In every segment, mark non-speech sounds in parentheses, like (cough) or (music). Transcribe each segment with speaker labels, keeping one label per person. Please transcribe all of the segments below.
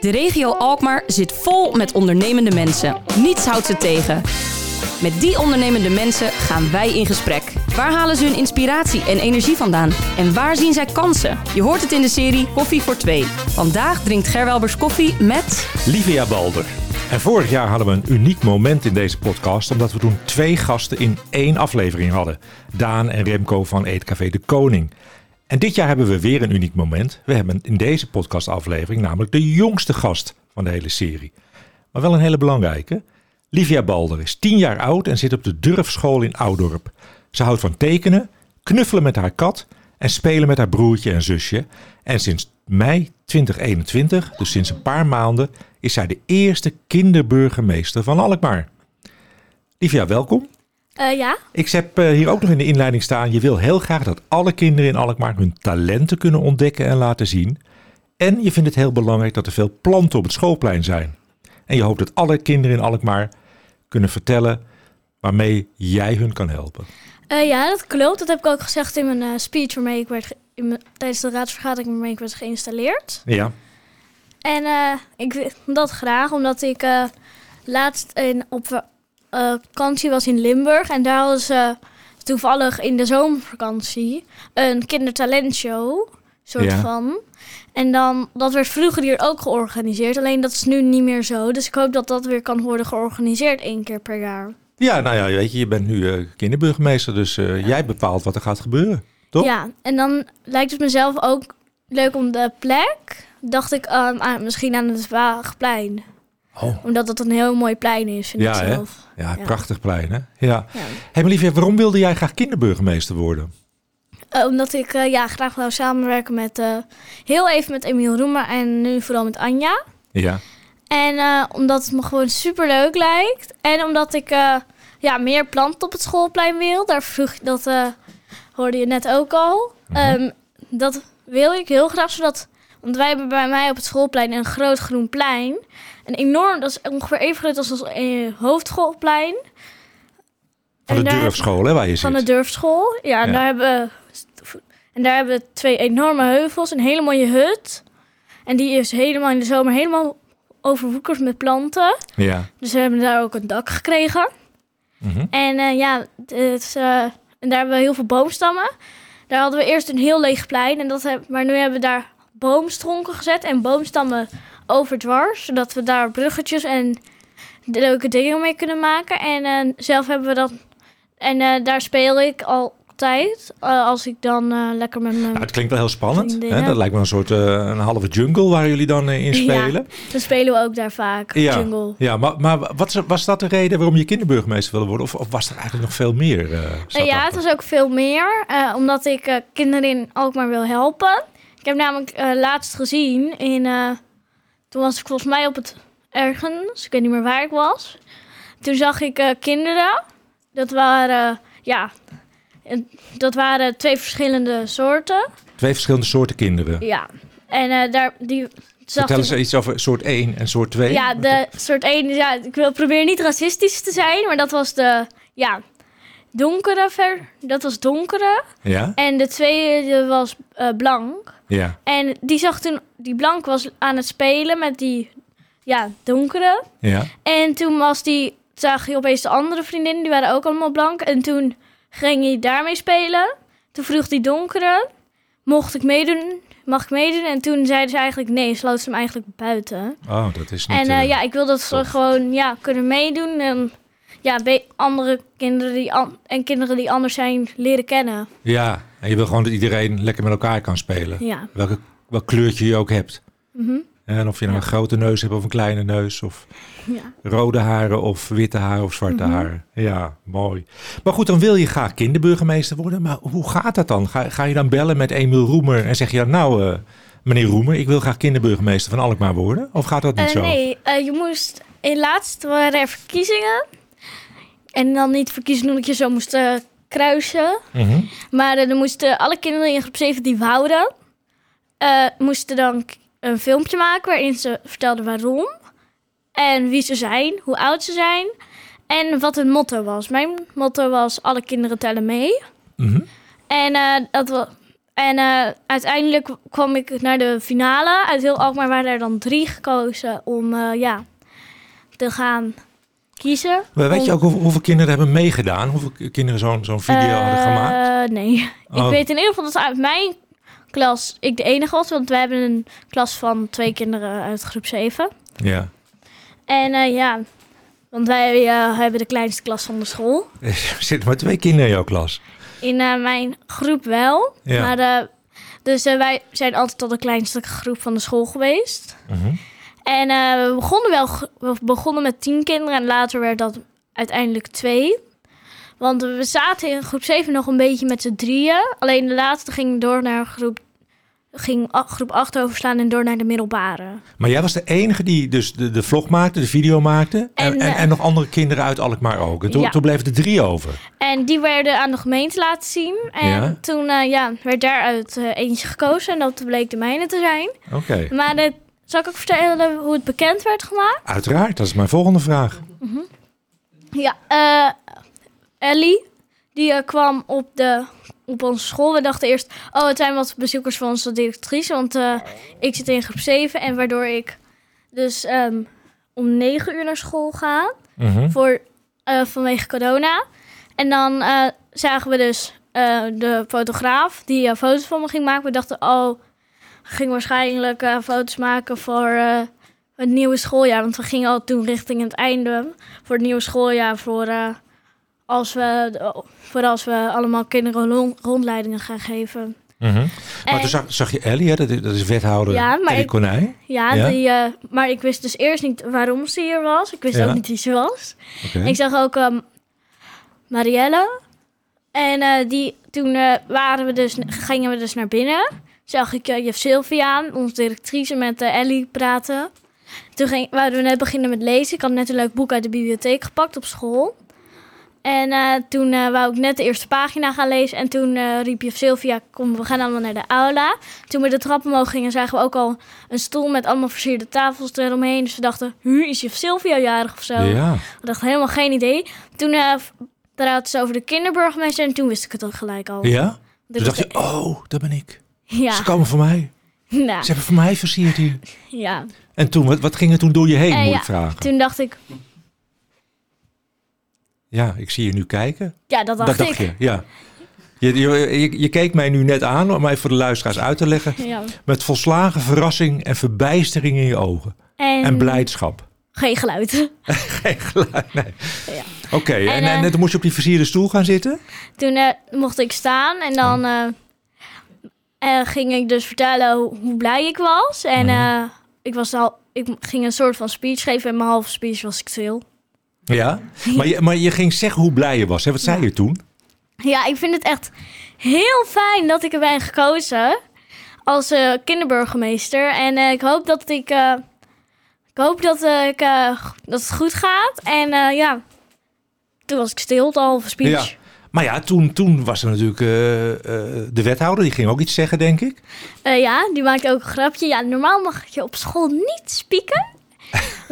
Speaker 1: De regio Alkmaar zit vol met ondernemende mensen. Niets houdt ze tegen. Met die ondernemende mensen gaan wij in gesprek. Waar halen ze hun inspiratie en energie vandaan? En waar zien zij kansen? Je hoort het in de serie Koffie voor Twee. Vandaag drinkt Gerwelbers koffie met...
Speaker 2: Livia Balder. En vorig jaar hadden we een uniek moment in deze podcast, omdat we toen twee gasten in één aflevering hadden. Daan en Remco van Eetcafé De Koning. En dit jaar hebben we weer een uniek moment. We hebben in deze podcastaflevering namelijk de jongste gast van de hele serie. Maar wel een hele belangrijke. Livia Balder is 10 jaar oud en zit op de Durfschool in Oudorp. Ze houdt van tekenen, knuffelen met haar kat en spelen met haar broertje en zusje. En sinds mei 2021, dus sinds een paar maanden, is zij de eerste kinderburgemeester van Alkmaar. Livia, welkom.
Speaker 3: Eh, ja,
Speaker 2: Ik heb eh, hier ook nog in de inleiding staan. Je wil heel graag dat alle kinderen in Alkmaar hun talenten kunnen ontdekken en laten zien. En je vindt het heel belangrijk dat er veel planten op het schoolplein zijn. En je hoopt dat alle kinderen in Alkmaar kunnen vertellen waarmee jij hun kan helpen.
Speaker 3: Eh, ja, dat klopt. Dat heb ik ook gezegd in mijn eh, speech waarmee ik werd ge- in mijn- tijdens de raadsvergadering waarmee ik werd geïnstalleerd.
Speaker 2: Ja,
Speaker 3: En eh, ik wil dat graag omdat ik eh, laatst in, op eh, vakantie was in Limburg. En daar hadden ze toevallig in de zomervakantie een kindertalentshow. Soort
Speaker 2: Ja.
Speaker 3: van. En dan, dat werd vroeger hier ook georganiseerd. Alleen dat is nu niet meer zo. Dus ik hoop dat dat weer kan worden georganiseerd één keer per jaar.
Speaker 2: ja nou ja, weet je, je bent nu eh, kinderburgemeester, dus eh, jij bepaalt wat er gaat gebeuren. Toch?
Speaker 3: Ja, en dan lijkt het mezelf ook leuk om de plek. Dacht ik ehm, aan, misschien aan het Waagplein.
Speaker 2: Oh.
Speaker 3: Omdat dat een heel mooi plein is, vind
Speaker 2: Ja,
Speaker 3: ik
Speaker 2: hè?
Speaker 3: zelf.
Speaker 2: Ja,
Speaker 3: Ja.
Speaker 2: prachtig plein, hè? Ja.
Speaker 3: Ja.
Speaker 2: hey, maar liefje, waarom wilde jij graag kinderburgemeester worden?
Speaker 3: Eh, omdat ik eh, ja, graag wou samenwerken met... eh, heel even met Emiel Roemer en nu vooral met Anja.
Speaker 2: Ja.
Speaker 3: En eh, omdat het me gewoon superleuk lijkt. En omdat ik eh, ja, meer planten op het schoolplein wil. Daar vroeg dat eh, hoorde je net ook al. Ehm, dat wil ik heel graag, zodat want wij hebben bij mij op het schoolplein een groot groen plein. Een enorm, dat is ongeveer even groot als ons eh, hoofdschoolplein.
Speaker 2: Van de
Speaker 3: En daar-
Speaker 2: durfschool, hè, waar je
Speaker 3: Van de
Speaker 2: zit.
Speaker 3: durfschool. Ja, en
Speaker 2: Ja.
Speaker 3: daar hebben we- en daar hebben we twee enorme heuvels, een hele mooie hut. En die is helemaal in de zomer helemaal overwoekerd met planten.
Speaker 2: Ja.
Speaker 3: Dus we hebben daar ook een dak gekregen.
Speaker 2: Mhm.
Speaker 3: En eh, ja, het is, eh, en daar hebben we heel veel boomstammen. Daar hadden we eerst een heel leeg plein. En dat heb, maar nu hebben we daar boomstronken gezet en boomstammen overdwars. Zodat we daar bruggetjes en de leuke dingen mee kunnen maken. En eh, zelf hebben we dat. En eh, daar speel ik altijd. eh, als ik dan eh, lekker met mijn.
Speaker 2: Nou, het klinkt wel heel spannend.
Speaker 3: Vrienden,
Speaker 2: Hè?
Speaker 3: ja.
Speaker 2: Dat lijkt wel een soort eh, een halve jungle waar jullie dan eh, in spelen.
Speaker 3: Ja, dan spelen we ook daar vaak.
Speaker 2: Ja,
Speaker 3: Jungle.
Speaker 2: ja maar, maar wat, is- was dat de reden waarom je kinderburgemeester wilde worden? Of, of was er eigenlijk nog veel meer? eh, zat
Speaker 3: Eh, ja, het
Speaker 2: achter?
Speaker 3: was ook veel meer. eh, omdat ik eh, kinderen in Alkmaar wil helpen. Ik heb namelijk eh, laatst gezien in... eh, toen was ik volgens mij op het ergens. Ik weet niet meer waar ik was. Toen zag ik eh, kinderen. Dat waren... ja... en Dat waren twee verschillende soorten.
Speaker 2: Twee verschillende soorten kinderen.
Speaker 3: Ja. En eh, daar... Die, zag
Speaker 2: Vertel
Speaker 3: ik-
Speaker 2: eens iets over soort 1 en soort 2.
Speaker 3: ja, de soort één. Ja, ik wil proberen niet racistisch te zijn. Maar dat was de... Ja. Donkere ver... Dat was donkere.
Speaker 2: Ja?
Speaker 3: En de tweede was eh, blank.
Speaker 2: Ja.
Speaker 3: En die zag toen, die blank was aan het spelen met die ja, donkere.
Speaker 2: ja.
Speaker 3: En toen was die, zag hij opeens de andere vriendinnen, die waren ook allemaal blank. En toen ging hij daarmee spelen. Toen vroeg die donkere, mocht ik meedoen? Mag ik meedoen? En toen zeiden ze eigenlijk nee, sloot ze hem eigenlijk buiten.
Speaker 2: Oh, dat is niet...
Speaker 3: En eh,
Speaker 2: eh,
Speaker 3: ja, ik wil dat ze
Speaker 2: tof.
Speaker 3: gewoon ja, kunnen meedoen. En ja, be- andere kinderen die an- en kinderen die anders zijn leren kennen.
Speaker 2: ja, en je wil gewoon dat iedereen lekker met elkaar kan spelen.
Speaker 3: Ja.
Speaker 2: Welke, welk kleurtje je ook hebt.
Speaker 3: Mhm.
Speaker 2: En of je nou een grote neus hebt of een kleine neus. Of
Speaker 3: ja.
Speaker 2: rode haren of witte haren of zwarte
Speaker 3: Mhm.
Speaker 2: haren. Ja, mooi. Maar goed, dan wil je graag kinderburgemeester worden. Maar hoe gaat dat dan? Ga, ga je dan bellen met Emiel Roemer en zeg je dan... Nou, eh, meneer Roemer, ik wil graag kinderburgemeester van Alkmaar worden. Of gaat dat niet
Speaker 3: Eh,
Speaker 2: zo?
Speaker 3: Nee, eh, je moest in laatst waren er verkiezingen. En dan niet verkiezen omdat je zo moest eh, kruisen.
Speaker 2: Mhm.
Speaker 3: Maar eh, er moesten alle kinderen in groep 7 die wouden, eh, moesten dan k- een filmpje maken waarin ze vertelden waarom. En wie ze zijn, hoe oud ze zijn. En wat hun motto was. Mijn motto was alle kinderen tellen mee.
Speaker 2: Mhm.
Speaker 3: En eh, dat wa- En eh, uiteindelijk kwam ik naar de finale. Uit heel Alkmaar waren er dan drie gekozen om eh, ja, te gaan kiezen.
Speaker 2: Maar weet je ook hoeveel, hoeveel kinderen hebben meegedaan? Hoeveel k- kinderen zo'n zo'n video hadden
Speaker 3: Eh,
Speaker 2: gemaakt?
Speaker 3: Nee.
Speaker 2: Oh.
Speaker 3: Ik weet in ieder geval dat uit mijn klas ik de enige was. Want wij hebben een klas van twee kinderen uit groep 7.
Speaker 2: Ja. (laughs)
Speaker 3: En eh, ja, want wij eh, hebben de kleinste klas van de school.
Speaker 2: Er zitten maar twee kinderen in jouw klas.
Speaker 3: In eh, mijn groep wel.
Speaker 2: Ja.
Speaker 3: Maar, eh, dus eh, wij zijn altijd al de kleinste groep van de school geweest.
Speaker 2: Mhm.
Speaker 3: En eh, we, begonnen wel, g- we begonnen met tien kinderen en later werd dat uiteindelijk twee. Want we zaten in groep 7 nog een beetje met z'n drieën. Alleen de laatste ging door naar groep, ging a- groep 8 overslaan en door naar de middelbare.
Speaker 2: Maar jij was de enige die dus de, de vlog maakte, de video maakte. En, en,
Speaker 3: En,
Speaker 2: en,
Speaker 3: eh,
Speaker 2: nog andere kinderen uit Alkmaar ook. En toen,
Speaker 3: ja.
Speaker 2: toen bleven er drie over.
Speaker 3: En die werden aan de gemeente laten zien. En
Speaker 2: Ja.
Speaker 3: toen eh, ja, werd daaruit eh, eentje gekozen en dat bleek de mijne te zijn.
Speaker 2: Oké.
Speaker 3: Maar eh, zal ik ook vertellen hoe het bekend werd gemaakt?
Speaker 2: Uiteraard, dat is mijn volgende vraag.
Speaker 3: Ja, eh, Ellie, die eh, kwam op, de, op onze school. We dachten eerst, oh, het zijn wat bezoekers van onze directrice. Want eh, ik zit in groep 7 en waardoor ik dus ehm, om 9 uur naar school ga.
Speaker 2: Mhm.
Speaker 3: Voor, eh, vanwege corona. En dan eh, zagen we dus eh, de fotograaf die eh, foto's van me ging maken. We dachten, oh, ging waarschijnlijk eh, foto's maken voor eh, het nieuwe schooljaar. Want we gingen al toen richting het einde voor het nieuwe schooljaar. Voor, eh, als, we, oh, voor als we allemaal kinderen lon- rondleidingen gaan geven.
Speaker 2: Mhm. Maar
Speaker 3: En-
Speaker 2: toen zag, zag je Ellie, hè? Dat, is- dat is wethouder
Speaker 3: Ja, maar
Speaker 2: Ellie
Speaker 3: ik-
Speaker 2: Konijn.
Speaker 3: ja,
Speaker 2: Ja?
Speaker 3: Die, eh, maar ik wist dus eerst niet waarom ze hier was. Ik wist
Speaker 2: Ja.
Speaker 3: ook niet wie ze was.
Speaker 2: Oké.
Speaker 3: Ik zag ook ehm, Marielle. En eh, die, toen eh, waren we dus, gingen we dus naar binnen. Zag ik eh, juf Sylvia aan, onze directrice, met eh, Ellie praten. Toen ging, wouden we net beginnen met lezen. Ik had net een leuk boek uit de bibliotheek gepakt op school. En eh, toen eh, wou ik net de eerste pagina gaan lezen. En toen eh, riep juf Sylvia, kom, we gaan allemaal naar de aula. Toen we de trap omhoog gingen, zagen we ook al een stoel met allemaal versierde tafels eromheen. Dus we dachten, hu, is juf Sylvia jarig of zo?
Speaker 2: Ja.
Speaker 3: Ik dacht helemaal geen idee. Toen eh praatte ze over de kinderburgemeester en toen wist ik het ook gelijk al.
Speaker 2: ja?
Speaker 3: Dus
Speaker 2: Toen dacht
Speaker 3: dat-
Speaker 2: je, oh, dat ben ik. Ze
Speaker 3: (laughs) Ja,
Speaker 2: komen voor mij.
Speaker 3: nou,
Speaker 2: Ze hebben voor mij versierd hier.
Speaker 3: ja.
Speaker 2: En toen, wat, wat ging er toen door je heen,
Speaker 3: Eh,
Speaker 2: moet
Speaker 3: ja.
Speaker 2: ik vragen?
Speaker 3: Toen dacht ik,
Speaker 2: Ja, ik zie je nu kijken.
Speaker 3: ja, dat dacht,
Speaker 2: dat dacht
Speaker 3: ik.
Speaker 2: je, ja. Je, je, je, je keek mij nu net aan, om even voor de luisteraars uit te leggen.
Speaker 3: Ja.
Speaker 2: Met volslagen verrassing en verbijstering in je ogen.
Speaker 3: En,
Speaker 2: En blijdschap. (laughs)
Speaker 3: geen geluid. (laughs)
Speaker 2: Geen geluid, nee.
Speaker 3: Ja.
Speaker 2: Oké, en,
Speaker 3: En,
Speaker 2: en,
Speaker 3: eh,
Speaker 2: toen moest je op die versierde stoel gaan zitten?
Speaker 3: Toen eh, mocht ik staan en dan eh,
Speaker 2: Oh.
Speaker 3: eh, ging ik dus vertellen hoe, hoe blij ik was. En eh, ik, was al, ik ging een soort van speech geven en mijn halve speech was ik stil.
Speaker 2: Ja. Maar je, maar je ging zeggen hoe blij je was. Hè? Wat zei je toen?
Speaker 3: Ja, ik vind het echt heel fijn dat ik er ben gekozen als eh, kinderburgemeester. En eh, ik hoop dat ik. eh, ik hoop dat, eh, ik, eh, g- dat het goed gaat. En eh, ja, toen was ik stil, de halve speech.
Speaker 2: Ja. Maar ja, toen, toen was er natuurlijk eh, eh, de wethouder. Die ging ook iets zeggen, denk ik.
Speaker 3: Eh, ja, die maakte ook een grapje. Ja, normaal mag je op school niet spieken.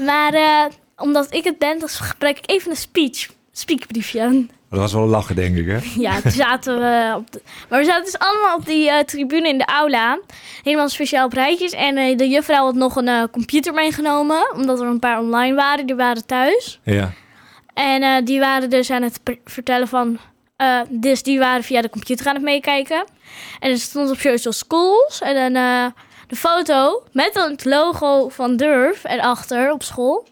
Speaker 3: maar eh, omdat ik het ben, dan gebruik ik even een speech. Speakbriefje.
Speaker 2: Dat was wel lachen, denk ik, hè?
Speaker 3: Ja, toen zaten we op de... Maar we zaten dus allemaal op die eh, tribune in de aula. Helemaal speciaal op rijtjes. En eh, de juffrouw had nog een eh, computer meegenomen. Omdat er een paar online waren. Die waren thuis.
Speaker 2: Ja.
Speaker 3: En eh, die waren dus aan het pr- vertellen van... eh, dus die waren via de computer aan het meekijken. En het stond op Social Schools. En dan eh, de foto met het logo van Durf erachter op school...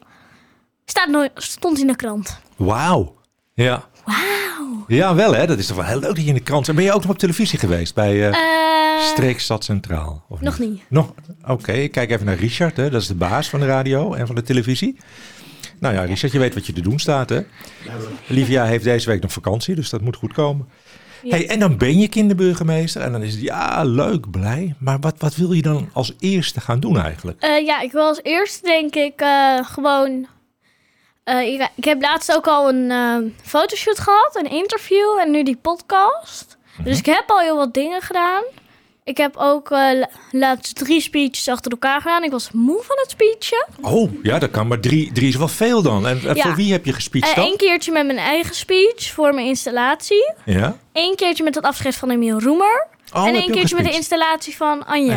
Speaker 3: Staat nooit, stond in de krant.
Speaker 2: Wauw. Ja. Wauw. Ja, wel, hè? Dat is toch wel heel leuk dat je in de krant... En ben je ook nog op televisie geweest bij eh
Speaker 3: Eh,
Speaker 2: Streekstad Centraal? Of
Speaker 3: nog niet.
Speaker 2: Nog? Oké, ik kijk even naar Richard. Hè? Dat is de baas van de radio en van de televisie. Nou ja, Richard, je weet wat je te doen staat, hè? Livia heeft deze week nog vakantie, dus dat moet goed komen.
Speaker 3: Ja.
Speaker 2: Hey, en dan ben je kinderburgemeester en dan is het ja, leuk, blij. Maar wat, wat wil je dan als eerste gaan doen eigenlijk?
Speaker 3: Eh, ja, ik wil als eerste denk ik eh, gewoon... eh, ik, ik heb laatst ook al een eh, fotoshoot gehad, een interview en nu die podcast.
Speaker 2: Mhm.
Speaker 3: Dus ik heb al heel wat dingen gedaan. Ik heb ook eh, la- laatst drie speeches achter elkaar gedaan. Ik was moe van het speechen.
Speaker 2: Oh, ja, dat kan, maar drie, drie is wel veel dan. En, en
Speaker 3: Ja.
Speaker 2: voor wie heb je gespeecht
Speaker 3: Eén
Speaker 2: dan?
Speaker 3: Eh, keertje met mijn eigen speech voor mijn installatie.
Speaker 2: Ja,
Speaker 3: Eén keertje met het afscheid van Emiel Roemer.
Speaker 2: Oh,
Speaker 3: en
Speaker 2: heb je
Speaker 3: een
Speaker 2: ook
Speaker 3: keertje met de
Speaker 2: gespeecht?
Speaker 3: installatie van Anja.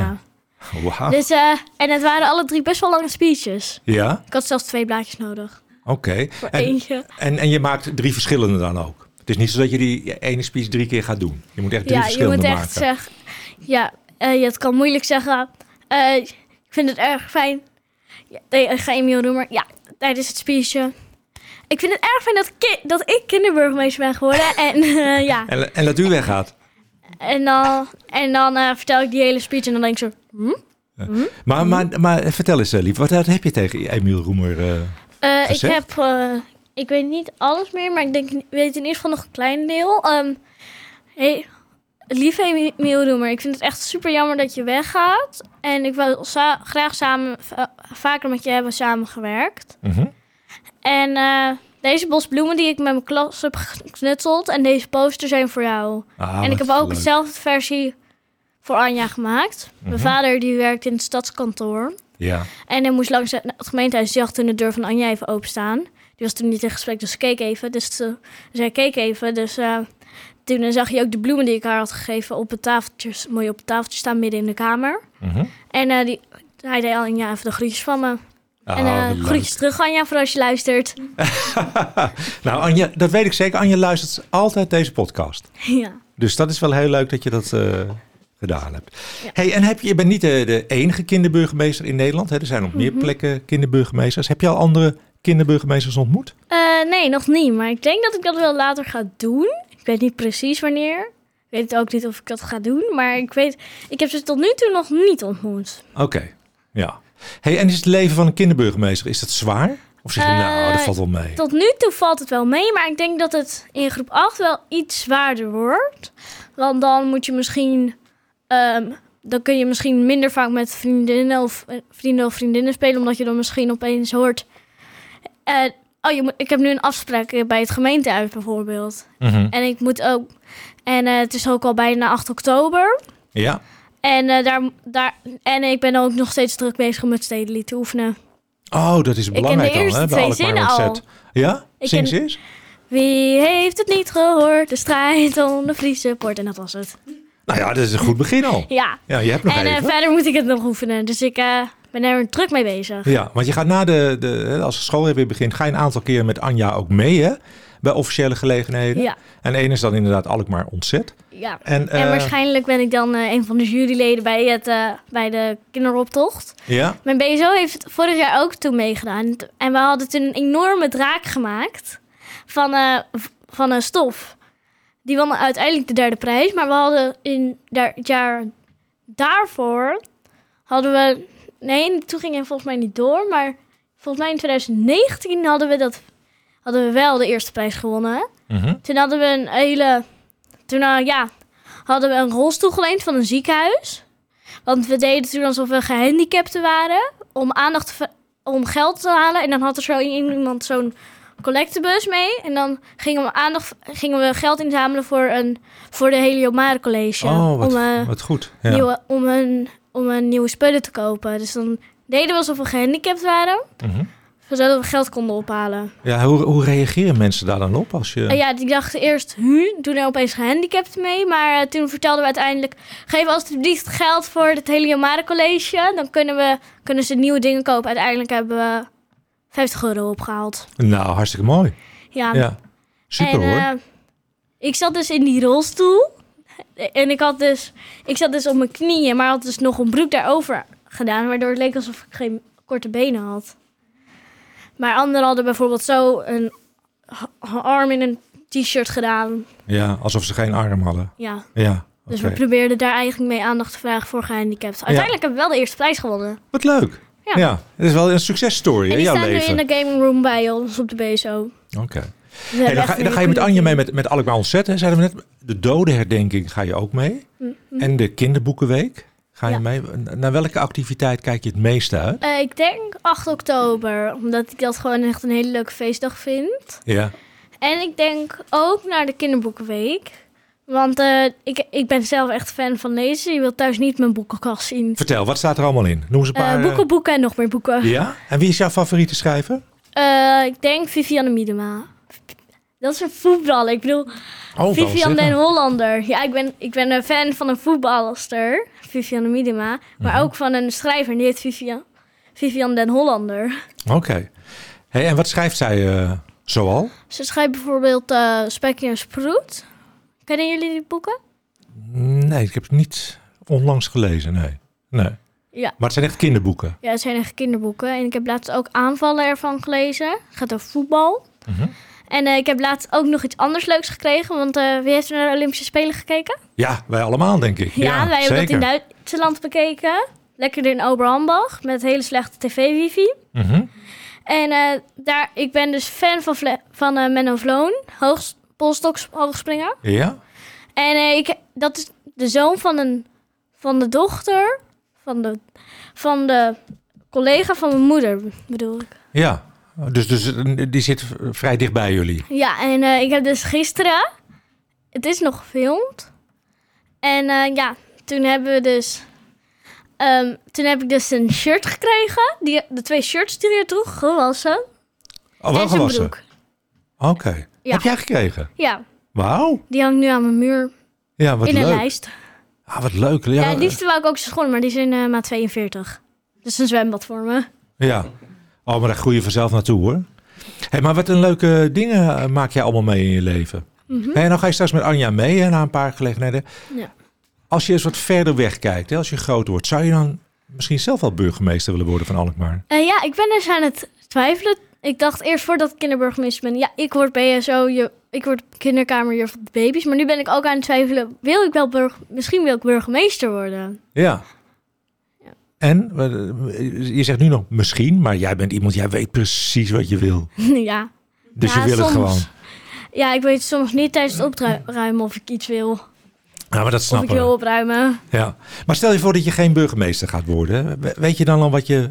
Speaker 2: Ja. Wauw.
Speaker 3: Dus, eh, en het waren alle drie best wel lange speeches.
Speaker 2: Ja,
Speaker 3: Ik had zelfs twee blaadjes nodig.
Speaker 2: oké.
Speaker 3: Voor
Speaker 2: En,
Speaker 3: eentje.
Speaker 2: en, en je maakt drie verschillende dan ook. Het is niet zo dat je die ene speech drie keer gaat doen. Je moet echt drie
Speaker 3: Ja, je
Speaker 2: verschillende
Speaker 3: moet echt
Speaker 2: maken.
Speaker 3: zeggen. Ja, eh, je het kan moeilijk zeggen. eh, ik vind het erg fijn. Ja, nee, ik ga Emiel doen, maar ja, tijdens het speechje. Ik vind het erg fijn dat, ki- dat ik kinderburgemeester ben geworden. En (laughs) eh, ja,
Speaker 2: En, en dat u weggaat.
Speaker 3: en dan, en dan eh, vertel ik die hele speech en dan denk ik zo... hm?
Speaker 2: Maar, maar, maar vertel eens, eh, lief, wat wat heb je tegen Emiel Roemer? eh?
Speaker 3: Eh, ik
Speaker 2: Gezegd?
Speaker 3: heb, eh, ik weet niet alles meer, maar ik denk, ik weet in ieder geval nog een klein deel. Ehm hey, lieve Emiel Roemer, ik vind het echt super jammer dat je weggaat. En ik wil sa- graag samen, va- vaker met je hebben samengewerkt.
Speaker 2: Mhm.
Speaker 3: En eh, deze bos bloemen die ik met mijn klas heb geknutseld en deze poster zijn voor jou.
Speaker 2: Ah,
Speaker 3: en ik
Speaker 2: wat
Speaker 3: heb ook
Speaker 2: leuk.
Speaker 3: dezelfde versie voor Anja gemaakt. Mijn
Speaker 2: Mhm.
Speaker 3: vader die werkt in het stadskantoor.
Speaker 2: Ja,
Speaker 3: En hij moest langs het het gemeentehuis. Die had toen de deur van Anja even openstaan. Die was toen niet in gesprek, dus ze keek even. Dus, ze, dus hij keek even. Dus eh, toen zag je ook de bloemen die ik haar had gegeven op het tafeltje. Mooi op het tafeltje staan midden in de kamer.
Speaker 2: Mhm.
Speaker 3: En eh, die, hij deed Anja even de groetjes van me.
Speaker 2: Ah,
Speaker 3: en eh,
Speaker 2: wat leuk.
Speaker 3: groetjes terug Anja voor als je luistert. (laughs)
Speaker 2: Nou, Anja, dat weet ik zeker. Anja luistert altijd deze podcast.
Speaker 3: ja.
Speaker 2: Dus dat is wel heel leuk dat je dat eh, gedaan hebt. Hey, en heb je, je bent niet de, de enige kinderburgemeester in Nederland. Hè? Er zijn nog
Speaker 3: Mhm.
Speaker 2: meer plekken kinderburgemeesters. Heb je al andere kinderburgemeesters ontmoet?
Speaker 3: Eh, nee, nog niet. Maar ik denk dat ik dat wel later ga doen. Ik weet niet precies wanneer. Ik weet ook niet of ik dat ga doen. Maar ik weet, ik heb ze tot nu toe nog niet ontmoet.
Speaker 2: Oké, ja. Hey, en is het leven van een kinderburgemeester, is dat zwaar? Of zeg je, nou, dat
Speaker 3: Eh,
Speaker 2: valt wel mee.
Speaker 3: Tot nu toe valt het wel mee, maar ik denk dat het in groep 8 wel iets zwaarder wordt. Want dan moet je misschien. ehm, dan kun je misschien minder vaak met vriendinnen of eh, vrienden of vriendinnen spelen, omdat je dan misschien opeens hoort. eh, oh, je moet, ik heb nu een afspraak eh, bij het gemeentehuis bijvoorbeeld.
Speaker 2: Mhm.
Speaker 3: En ik moet ook. En eh, het is ook al bijna 8 oktober.
Speaker 2: Ja,
Speaker 3: En, eh, daar, daar, en ik ben ook nog steeds druk bezig om met stedenlied te oefenen.
Speaker 2: oh, dat is
Speaker 3: ken
Speaker 2: belangrijk
Speaker 3: de
Speaker 2: dan.
Speaker 3: eerste
Speaker 2: Hè,
Speaker 3: twee
Speaker 2: bij Alkmaar
Speaker 3: zinnen
Speaker 2: Ontzet. Ja,
Speaker 3: Ik
Speaker 2: zing
Speaker 3: ken-
Speaker 2: ze eens.
Speaker 3: Wie heeft het niet gehoord? De strijd om de Friese poort. En dat was het.
Speaker 2: Nou ja, dat is een goed begin al.
Speaker 3: Ja.
Speaker 2: Ja, je hebt nog
Speaker 3: en eh,
Speaker 2: even.
Speaker 3: verder moet ik het nog oefenen. Dus ik eh, ben er druk mee bezig.
Speaker 2: Ja, want je gaat na de, de, hè, als de school weer begint, ga je een aantal keren met Anja ook mee, hè? Bij officiële gelegenheden.
Speaker 3: Ja.
Speaker 2: En één is dan inderdaad Alkmaar ontzet.
Speaker 3: ja.
Speaker 2: En, eh,
Speaker 3: en waarschijnlijk ben ik dan eh, een van de juryleden bij, het, eh, bij de kinderoptocht.
Speaker 2: Ja,
Speaker 3: Mijn BSO heeft vorig jaar ook toen meegedaan. En we hadden toen een enorme draak gemaakt van, eh, v- van een stof. Die won uiteindelijk de derde prijs. Maar we hadden in daar- het jaar daarvoor... hadden we... Nee, toen ging hij volgens mij niet door. Maar volgens mij in 2019 hadden we, dat, hadden we wel de eerste prijs gewonnen.
Speaker 2: Mhm.
Speaker 3: Toen hadden we een hele... Toen eh, ja, hadden we een rolstoel geleend van een ziekenhuis. Want we deden toen alsof we gehandicapten waren. Om aandacht te ver- om geld te halen. En dan had er zo iemand zo'n collectebus mee. En dan gingen we, aandacht, gingen we geld inzamelen voor, een, voor de Heliomare College.
Speaker 2: oh, wat,
Speaker 3: om, eh,
Speaker 2: wat goed. Ja.
Speaker 3: nieuwe, om, een, om een nieuwe spullen te kopen. Dus dan deden we alsof we gehandicapt waren.
Speaker 2: Mhm.
Speaker 3: Zodat we geld konden ophalen.
Speaker 2: Ja, hoe, hoe reageren mensen daar dan op als je...
Speaker 3: En Ah, ja, die dachten eerst, hu, toen er opeens gehandicapt mee. Maar eh, toen vertelden we uiteindelijk, geef alsjeblieft geld voor het Heliomare College. Dan kunnen, we, kunnen ze nieuwe dingen kopen. Uiteindelijk hebben we 50 euro opgehaald.
Speaker 2: Nou, hartstikke mooi.
Speaker 3: Ja,
Speaker 2: Ja, super
Speaker 3: en,
Speaker 2: hoor.
Speaker 3: eh, ik zat dus in die rolstoel. En ik had dus, ik zat dus op mijn knieën, maar had dus nog een broek daarover gedaan. Waardoor het leek alsof ik geen korte benen had. Maar anderen hadden bijvoorbeeld zo een ha- arm in een t-shirt gedaan.
Speaker 2: Ja, alsof ze geen arm hadden.
Speaker 3: Ja.
Speaker 2: Ja,
Speaker 3: Dus
Speaker 2: oké.
Speaker 3: we probeerden daar eigenlijk mee aandacht te vragen voor gehandicapten. Uiteindelijk hebben we wel de eerste prijs gewonnen.
Speaker 2: Wat leuk. Ja.
Speaker 3: Ja.
Speaker 2: het is wel een successtory
Speaker 3: En
Speaker 2: in
Speaker 3: die
Speaker 2: jouw
Speaker 3: staan
Speaker 2: leven.
Speaker 3: nu in de gaming room bij ons op de BSO.
Speaker 2: Oké.
Speaker 3: Dus we
Speaker 2: Hey,
Speaker 3: hebben
Speaker 2: dan,
Speaker 3: echt
Speaker 2: ga,
Speaker 3: een
Speaker 2: dan ga je met
Speaker 3: hele goede
Speaker 2: Anja
Speaker 3: team.
Speaker 2: mee met, met Alkmaar Ontzet. Hè? Zeiden we net, de dodenherdenking ga je ook mee. En de kinderboekenweek ga je
Speaker 3: Mm, Ja.
Speaker 2: mee. Naar welke activiteit kijk je het meeste uit?
Speaker 3: Eh, ik denk 8 oktober, omdat ik dat gewoon echt een hele leuke feestdag vind.
Speaker 2: Ja.
Speaker 3: En ik denk ook naar de kinderboekenweek. Want eh, ik, ik ben zelf echt fan van lezen. Je wilt thuis niet mijn boekenkast zien.
Speaker 2: Vertel, wat staat er allemaal in? Noem eens een
Speaker 3: Eh,
Speaker 2: paar. eh,
Speaker 3: boeken, boeken en nog meer boeken.
Speaker 2: Ja? En wie is jouw favoriete schrijver?
Speaker 3: Eh, ik denk Vivianne Miedema. Dat is een voetballer. Ik bedoel,
Speaker 2: Oh,
Speaker 3: Vivian den
Speaker 2: Den
Speaker 3: Hollander. Ja, ik ben, ik ben een fan van een voetbalster, Vivian de Miedema. Maar
Speaker 2: Mhm.
Speaker 3: ook van een schrijver, die heet Vivian, Vivian den Hollander.
Speaker 2: Oké. Hey, en wat schrijft zij eh, zoal?
Speaker 3: Ze schrijft bijvoorbeeld eh Spekje en Sproet. Kennen jullie die boeken?
Speaker 2: Nee, ik heb het niet onlangs gelezen, nee. nee.
Speaker 3: Ja.
Speaker 2: Maar het zijn echt kinderboeken.
Speaker 3: Ja, het zijn echt kinderboeken. En ik heb laatst ook aanvallen ervan gelezen. Het gaat over voetbal.
Speaker 2: Mhm.
Speaker 3: En eh, ik heb laatst ook nog iets anders leuks gekregen. Want eh, wie heeft er naar de Olympische Spelen gekeken?
Speaker 2: Ja, wij allemaal, denk ik.
Speaker 3: Ja, wij hebben
Speaker 2: zeker.
Speaker 3: dat in Duitsland bekeken. Lekker in Oberhambach met hele slechte tv-wifi.
Speaker 2: Mhm.
Speaker 3: En eh, daar, ik ben dus fan van, Vle- van eh, Menno Vloon, hoogst, polstoks, hoogspringer.
Speaker 2: Ja?
Speaker 3: En eh, ik, dat is de zoon van, een, van de dochter van de, van de collega van mijn moeder, bedoel ik.
Speaker 2: Ja. Dus, dus eh, die zit v- vrij dicht bij jullie.
Speaker 3: Ja, en eh, ik heb dus gisteren, het is nog gefilmd. En eh, ja, toen hebben we dus, ehm, toen heb ik dus een shirt gekregen. Die, de twee shirts die hij droeg, gewassen.
Speaker 2: Oh, wel
Speaker 3: en zijn
Speaker 2: gewassen.
Speaker 3: broek.
Speaker 2: Oké.
Speaker 3: Ja.
Speaker 2: Heb jij gekregen?
Speaker 3: Ja,
Speaker 2: Wauw.
Speaker 3: die hangt nu aan mijn muur
Speaker 2: Ja, wat
Speaker 3: in een
Speaker 2: leuk.
Speaker 3: lijst.
Speaker 2: Ah, wat leuk. Ja,
Speaker 3: Ja, het liefst wou ik ook zijn schoenen, maar die zijn eh, maat 42. Dus een zwembad voor me.
Speaker 2: Ja. Oh, maar daar groei je vanzelf naartoe hoor. Hey, maar wat een leuke dingen eh, maak jij allemaal mee in je leven. Hey, en dan ga je straks met Anja mee hè, na een paar gelegenheden.
Speaker 3: Mhm. Ja.
Speaker 2: Als je eens wat verder weg kijkt, hè, als je groot wordt, zou je dan misschien zelf wel burgemeester willen worden van Alkmaar?
Speaker 3: Eh, ja, ik ben dus aan het twijfelen. Ik dacht eerst voordat ik kinderburgemeester ben, ja, ik word BSO, je, ik word kinderkamerjuf van de baby's. Maar nu ben ik ook aan het twijfelen, wil ik wel burg, misschien wil ik burgemeester worden. (laughs)
Speaker 2: Ja. En eh, je zegt nu nog misschien, maar jij bent iemand, jij weet precies wat je wil.
Speaker 3: ja.
Speaker 2: Dus
Speaker 3: Ja,
Speaker 2: je wil
Speaker 3: soms.
Speaker 2: het gewoon.
Speaker 3: ja, ik weet soms niet tijdens het opruimen of ik iets wil.
Speaker 2: Ja, maar dat
Speaker 3: Of ik
Speaker 2: snappen
Speaker 3: wil
Speaker 2: we.
Speaker 3: opruimen.
Speaker 2: Ja. Maar stel je voor dat je geen burgemeester gaat worden. hè. We- Weet je dan al wat je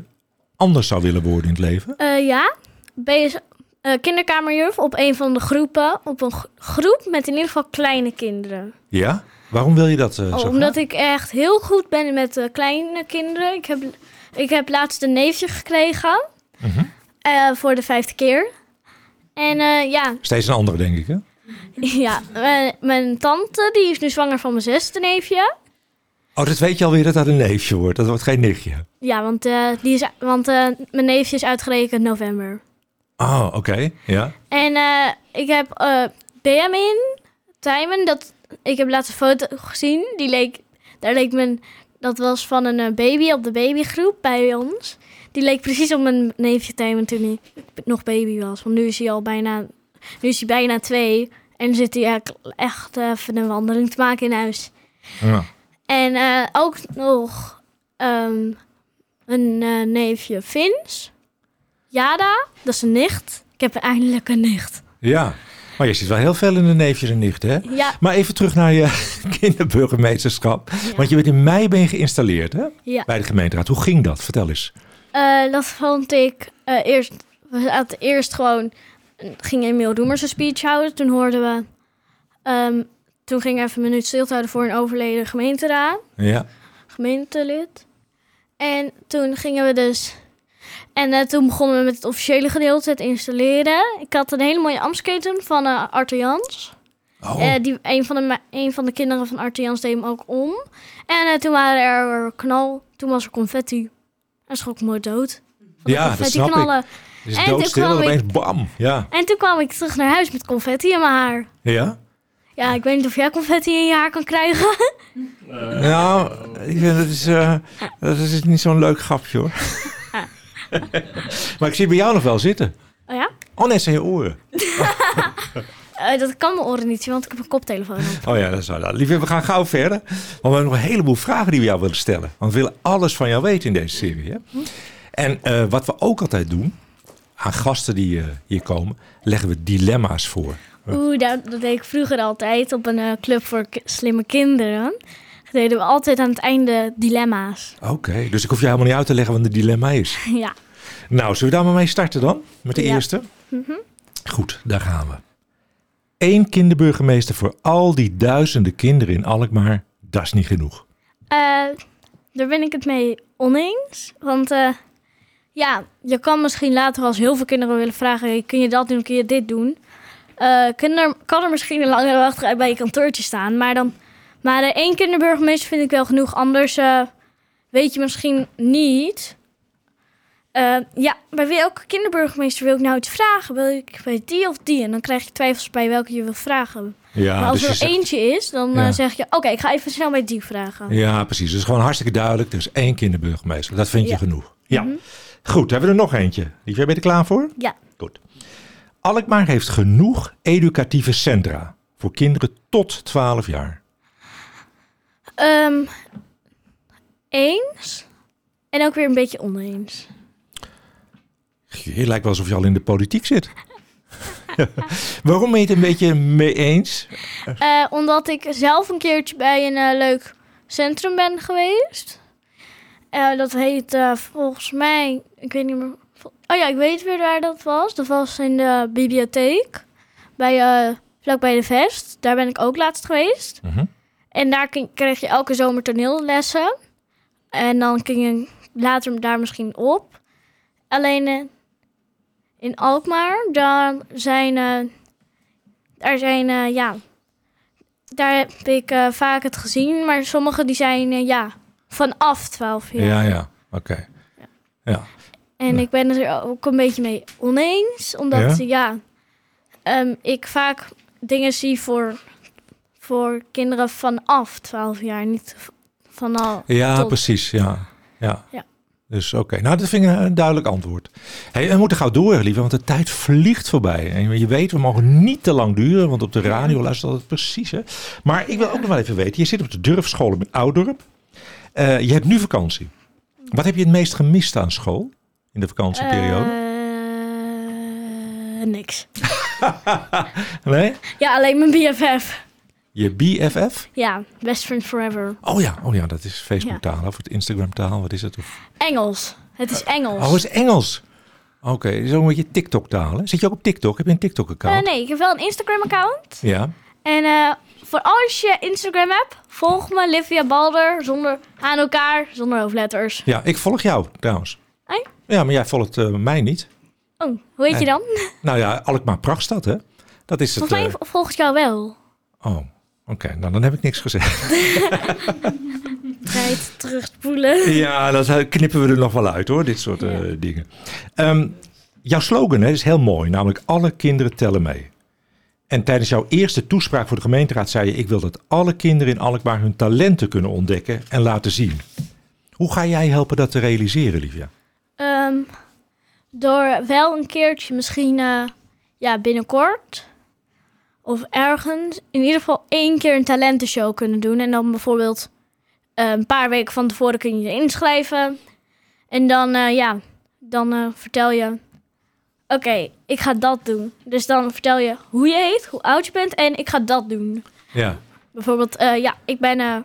Speaker 2: anders zou willen worden in het leven?
Speaker 3: Eh, ja, BSO, eh, kinderkamerjuf op een van de groepen, op een gro- groep met in ieder geval kleine kinderen.
Speaker 2: Ja? Waarom wil je dat eh, zo
Speaker 3: Oh, Omdat
Speaker 2: graag?
Speaker 3: ik echt heel goed ben met eh, kleine kinderen. Ik heb, ik heb laatst een neefje gekregen.
Speaker 2: Mhm.
Speaker 3: eh, voor de vijfde keer. En eh, ja, (laughs)
Speaker 2: Steeds een andere, denk ik. Hè?
Speaker 3: ja mijn, mijn tante die is nu zwanger van mijn zesde neefje.
Speaker 2: Oh, dat weet je alweer dat dat een neefje wordt. Dat wordt geen nichtje.
Speaker 3: Ja, want, eh, die is, want eh, mijn neefje is uitgerekend november.
Speaker 2: Oh, oké. Ja.
Speaker 3: En eh, ik heb eh Benjamin, Tijmen, dat, ik heb laatst een foto gezien. Die leek, daar leek mijn, dat was van een eh, baby op de babygroep bij ons. Die leek precies op mijn neefje Tijmen toen ik nog baby was. Want nu is hij al bijna, nu is hij bijna twee. En zit hij echt- echt even een wandeling te maken in huis.
Speaker 2: ja.
Speaker 3: En eh, ook nog ehm, een eh, neefje Vins. Jada, dat is een nicht. Ik heb eindelijk een nicht.
Speaker 2: Ja. Maar je ziet wel heel veel in de neefjes en nichten, hè?
Speaker 3: Ja,
Speaker 2: Maar even terug naar je (laughs) kinderburgemeesterschap. Want je bent in mei ben je geïnstalleerd, hè?
Speaker 3: ja.
Speaker 2: Bij de gemeenteraad. Hoe ging dat? Vertel eens.
Speaker 3: Eh, dat vond ik eh, eerst. We zaten eerst gewoon. Ging Emiel Roemer zijn speech houden. Toen hoorden we. ehm, toen ging even een minuut stilte houden voor een overleden gemeenteraad.
Speaker 2: Ja.
Speaker 3: gemeentelid. En toen gingen we dus. En eh, toen begonnen we met het officiële gedeelte, het installeren. Ik had een hele mooie amsketen van eh Arthur Jans.
Speaker 2: Oh,
Speaker 3: Eh, die, een, van de, me- een van de kinderen van Arthur Jans deed hem ook om. En eh, toen waren er knal. Toen was er confetti. En schrok me dood. Van de
Speaker 2: Ja, dat
Speaker 3: confetti
Speaker 2: snap ik.
Speaker 3: knallen.
Speaker 2: het is
Speaker 3: en toen
Speaker 2: doodstil en
Speaker 3: kwam
Speaker 2: opeens bam. Ja.
Speaker 3: En toen kwam ik terug naar huis met confetti in mijn haar.
Speaker 2: Ja?
Speaker 3: Ja, ik weet niet of jij confetti in je haar kan krijgen.
Speaker 2: Nou, ik vind, dat, is, eh, dat is niet zo'n leuk grapje,
Speaker 3: (laughs)
Speaker 2: hoor. maar ik zie bij jou nog wel zitten.
Speaker 3: Oh ja?
Speaker 2: (laughs) Oh, net zijn je oren.
Speaker 3: Eh, dat kan mijn oren niet zien, want ik heb een koptelefoon op.
Speaker 2: (laughs) Oh ja, dat is waar. Nou, Lieve, we gaan gauw verder. Want we hebben nog een heleboel vragen die we jou willen stellen. Want we willen alles van jou weten in deze serie. Hè? En eh, wat we ook altijd doen, aan gasten die eh, hier komen, leggen we dilemma's voor.
Speaker 3: Oeh, dat, dat deed ik vroeger altijd op een eh, club voor ki- slimme kinderen. Deden we altijd aan het einde dilemma's. (laughs)
Speaker 2: Oké, dus ik hoef je helemaal niet uit te leggen wat een dilemma is.
Speaker 3: ja.
Speaker 2: Nou, zullen we daar maar mee starten dan? Met de
Speaker 3: Ja. Mhm.
Speaker 2: eerste? Goed, daar gaan we. Eén kinderburgemeester voor al die duizenden kinderen in Alkmaar, dat is niet genoeg.
Speaker 3: Eh, daar ben ik het mee oneens. Want eh, ja, je kan misschien later als heel veel kinderen willen vragen... hey, kun je dat doen, kun je dit doen? Eh, eh, kan, er, kan er misschien een langere wachtrij bij je kantoortje staan. Maar, dan, maar eh, één kinderburgemeester vind ik wel genoeg. Anders eh, weet je misschien niet. Eh, ja, bij welke kinderburgemeester wil ik nou iets vragen? Wil ik bij die of die? En dan krijg je twijfels bij welke je wil vragen.
Speaker 2: Ja,
Speaker 3: maar als
Speaker 2: dus je
Speaker 3: er
Speaker 2: zegt-
Speaker 3: eentje is, dan eh,
Speaker 2: Ja.
Speaker 3: zeg je... Oké, ik ga even snel bij die vragen.
Speaker 2: ja, precies. Dus gewoon hartstikke duidelijk. Er is één kinderburgemeester. Dat vind je
Speaker 3: Ja.
Speaker 2: genoeg. Ja. Goed, hebben we er nog eentje. Lief, jij bent er klaar voor?
Speaker 3: Ja.
Speaker 2: Goed. Alkmaar heeft genoeg educatieve centra voor kinderen tot 12 jaar.
Speaker 3: Ehm, eens. En ook weer een beetje oneens.
Speaker 2: Je lijkt wel alsof je al in de politiek zit. Waarom ben je het een beetje mee eens?
Speaker 3: Eh, omdat ik zelf een keertje bij een eh, leuk centrum ben geweest. Eh, dat heet eh, volgens mij, ik weet niet meer. vol- Oh ja, ik weet weer waar dat was. Dat was in de bibliotheek. Bij, eh vlakbij de Vest. Daar ben ik ook laatst geweest.
Speaker 2: Mhm.
Speaker 3: En daar kin- kreeg je elke zomer toneellessen. En dan ging je later daar misschien op. Alleen eh, in Alkmaar, daar zijn, eh, daar zijn, eh, ja, daar heb ik eh, vaak het gezien. Maar sommige die zijn, eh, ja, vanaf 12 jaar.
Speaker 2: Ja, ja. Oké. Ja.
Speaker 3: En ik ben het er ook een beetje mee oneens. Omdat,
Speaker 2: Ja?
Speaker 3: ja, ehm, ik vaak dingen zie voor, voor kinderen vanaf 12 jaar. Niet v- van al.
Speaker 2: Ja,
Speaker 3: tot-
Speaker 2: precies. Ja. Ja.
Speaker 3: Ja.
Speaker 2: Dus oké, nou dat vind ik een duidelijk antwoord. Hey, we moeten gauw door, lieve, want de tijd vliegt voorbij. En je weet, we mogen niet te lang duren, want op de radio luistert dat precies. Hè? Maar ik wil ook nog wel even weten, je zit op de Durfschool in Oudorp. Eh, je hebt nu vakantie. Wat heb je het meest gemist aan school in de vakantieperiode?
Speaker 3: Eh, niks. Eh.
Speaker 2: Nee?
Speaker 3: Ja, alleen mijn BFF.
Speaker 2: Je BFF?
Speaker 3: Ja, best friend forever.
Speaker 2: Oh ja, oh ja dat is Facebook-taal of het Instagram-taal, wat is dat? Of...
Speaker 3: Engels. Het is Engels.
Speaker 2: Oh, het is Engels. Oké, zo'n beetje TikTok-taal. hè? Zit je ook op TikTok? Heb je een TikTok-account?
Speaker 3: Eh, nee, ik heb wel een Instagram-account.
Speaker 2: Ja.
Speaker 3: En eh, voor als je Instagram hebt, volg me Livia Balder zonder aan elkaar, zonder hoofdletters.
Speaker 2: ja, ik volg jou trouwens.
Speaker 3: Hey?
Speaker 2: Ja, maar jij volgt eh, mij niet.
Speaker 3: Oh, hoe heet
Speaker 2: Nee.
Speaker 3: je dan?
Speaker 2: Nou ja, Alkmaar Prachtstad, hè? Dat is het.
Speaker 3: Volgens mij
Speaker 2: eh,
Speaker 3: v- volgens jou wel.
Speaker 2: oh, oké. Nou, dan heb ik niks gezegd.
Speaker 3: Tijd (laughs) terugspoelen.
Speaker 2: (laughs) ja, dat eh, knippen we er nog wel uit, hoor. Dit soort eh, dingen. Ehm, jouw slogan hè, is heel mooi, namelijk alle kinderen tellen mee. En tijdens jouw eerste toespraak voor de gemeenteraad zei je... ik wil dat alle kinderen in Alkmaar hun talenten kunnen ontdekken en laten zien. Hoe ga jij helpen dat te realiseren, Livia?
Speaker 3: Ehm, door wel een keertje, misschien eh, ja, binnenkort of ergens, in ieder geval één keer een talentenshow kunnen doen. En dan bijvoorbeeld eh, een paar weken van tevoren kun je je inschrijven. En dan, eh, ja, dan eh, vertel je, oké, ik ga dat doen. Dus dan vertel je hoe je heet, hoe oud je bent en ik ga dat doen.
Speaker 2: Ja.
Speaker 3: Bijvoorbeeld, eh, ja, ik ben eh,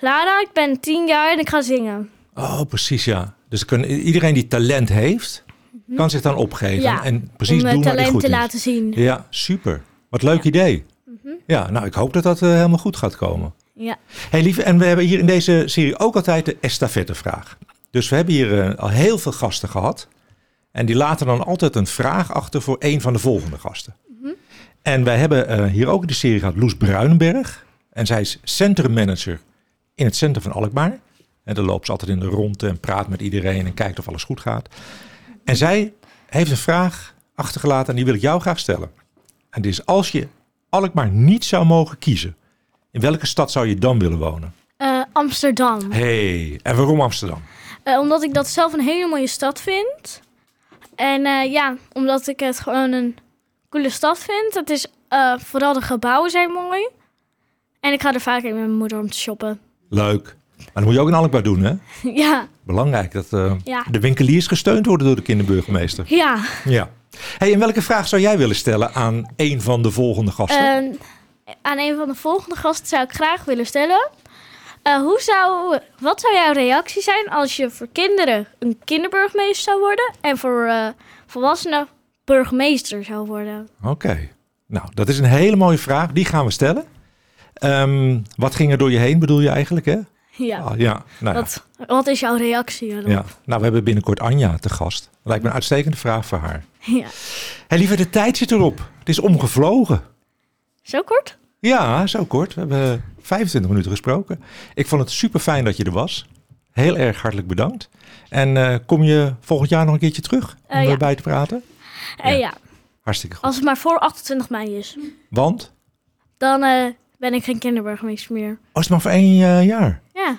Speaker 3: Lara, ik ben tien jaar en ik ga zingen.
Speaker 2: Oh, precies, ja. Dus kan, iedereen die talent heeft, kan zich dan opgeven.
Speaker 3: Mhm. Ja,
Speaker 2: en precies
Speaker 3: om eh,
Speaker 2: doen waar hij
Speaker 3: talent
Speaker 2: goed
Speaker 3: te
Speaker 2: in is.
Speaker 3: laten Mhm. zien.
Speaker 2: Ja, super. Wat leuk idee. Ja, nou, ik hoop dat dat eh, helemaal goed gaat komen.
Speaker 3: Ja.
Speaker 2: hey, lieve, en we hebben hier in deze serie ook altijd de estafettevraag. Dus we hebben hier eh, al heel veel gasten gehad. En die laten dan altijd een vraag achter voor een van de volgende gasten. En wij hebben eh, hier ook in de serie gehad Loes Bruinenberg. En zij is centrummanager in het centrum van Alkmaar. En dan loopt ze altijd in de ronde en praat met iedereen en kijkt of alles goed gaat. En zij heeft een vraag achtergelaten en die wil ik jou graag stellen. En dit is als je Alkmaar niet zou mogen kiezen, in welke stad zou je dan willen wonen?
Speaker 3: Eh, Amsterdam.
Speaker 2: hey, en waarom Amsterdam?
Speaker 3: Eh, omdat ik dat zelf een hele mooie stad vind. En eh, ja, omdat ik het gewoon een coole stad vind. Het is, eh, vooral de gebouwen zijn mooi. En ik ga er vaak in met mijn moeder om te shoppen. (laughs)
Speaker 2: Leuk. Maar dat moet je ook in Alkmaar doen, hè?
Speaker 3: ja,
Speaker 2: Belangrijk dat eh,
Speaker 3: Ja.
Speaker 2: de winkeliers gesteund worden door de kinderburgemeester.
Speaker 3: ja.
Speaker 2: Ja. hey, en welke vraag zou jij willen stellen aan een van de volgende gasten?
Speaker 3: Eh, aan een van de volgende gasten zou ik graag willen stellen. eh, hoe zou, wat zou jouw reactie zijn als je voor kinderen een kinderburgemeester zou worden en voor eh, volwassenen burgemeester zou worden?
Speaker 2: Oké. Nou, dat is een hele mooie vraag. Die gaan we stellen. Ehm, wat ging er door je heen, bedoel je eigenlijk, hè?
Speaker 3: Ja.
Speaker 2: Ah, ja, nou ja.
Speaker 3: Wat, wat is jouw reactie erop?
Speaker 2: ja. Nou, we hebben binnenkort Anja te gast. Lijkt me een uitstekende vraag voor haar.
Speaker 3: (laughs) Ja.
Speaker 2: Hé, liever de tijd zit erop. Het is omgevlogen.
Speaker 3: Zo kort?
Speaker 2: Ja, zo kort. We hebben 25 minuten gesproken. Ik vond het super fijn dat je er was. Heel erg hartelijk bedankt. En eh, kom je volgend jaar nog een keertje terug om
Speaker 3: Eh, ja. Oh.
Speaker 2: erbij te praten?
Speaker 3: Eh,
Speaker 2: Ja.
Speaker 3: ja.
Speaker 2: Hartstikke goed.
Speaker 3: als het maar voor 28 mei is,
Speaker 2: Want?
Speaker 3: dan eh, ben ik geen kinderburgemeester meer.
Speaker 2: Oh, is het maar voor één eh, jaar?
Speaker 3: Ja.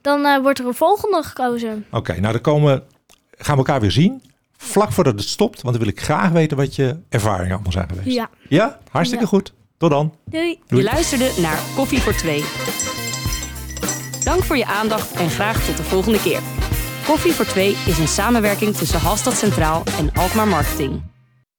Speaker 3: Dan eh, wordt er een volgende gekozen.
Speaker 2: Oké, nou dan komen, gaan we elkaar weer zien. Vlak voordat het stopt, want dan wil ik graag weten wat je ervaringen allemaal zijn geweest.
Speaker 3: Ja.
Speaker 2: Ja? Hartstikke
Speaker 3: Ja.
Speaker 2: goed. Tot dan.
Speaker 3: Doei.
Speaker 1: Je
Speaker 2: Doei.
Speaker 1: luisterde naar Koffie voor Twee. Dank voor je aandacht en graag tot de volgende keer. Koffie voor Twee is een samenwerking tussen Halstad Centraal en Alkmaar Marketing.